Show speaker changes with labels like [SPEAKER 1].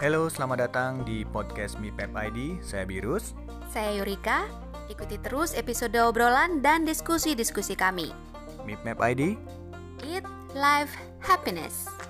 [SPEAKER 1] Halo, selamat datang di podcast MIPEP ID. Saya Birus.
[SPEAKER 2] Saya Yurika. Ikuti terus episode obrolan dan diskusi-diskusi kami.
[SPEAKER 1] MIPEP ID,
[SPEAKER 2] Eat Life Happiness.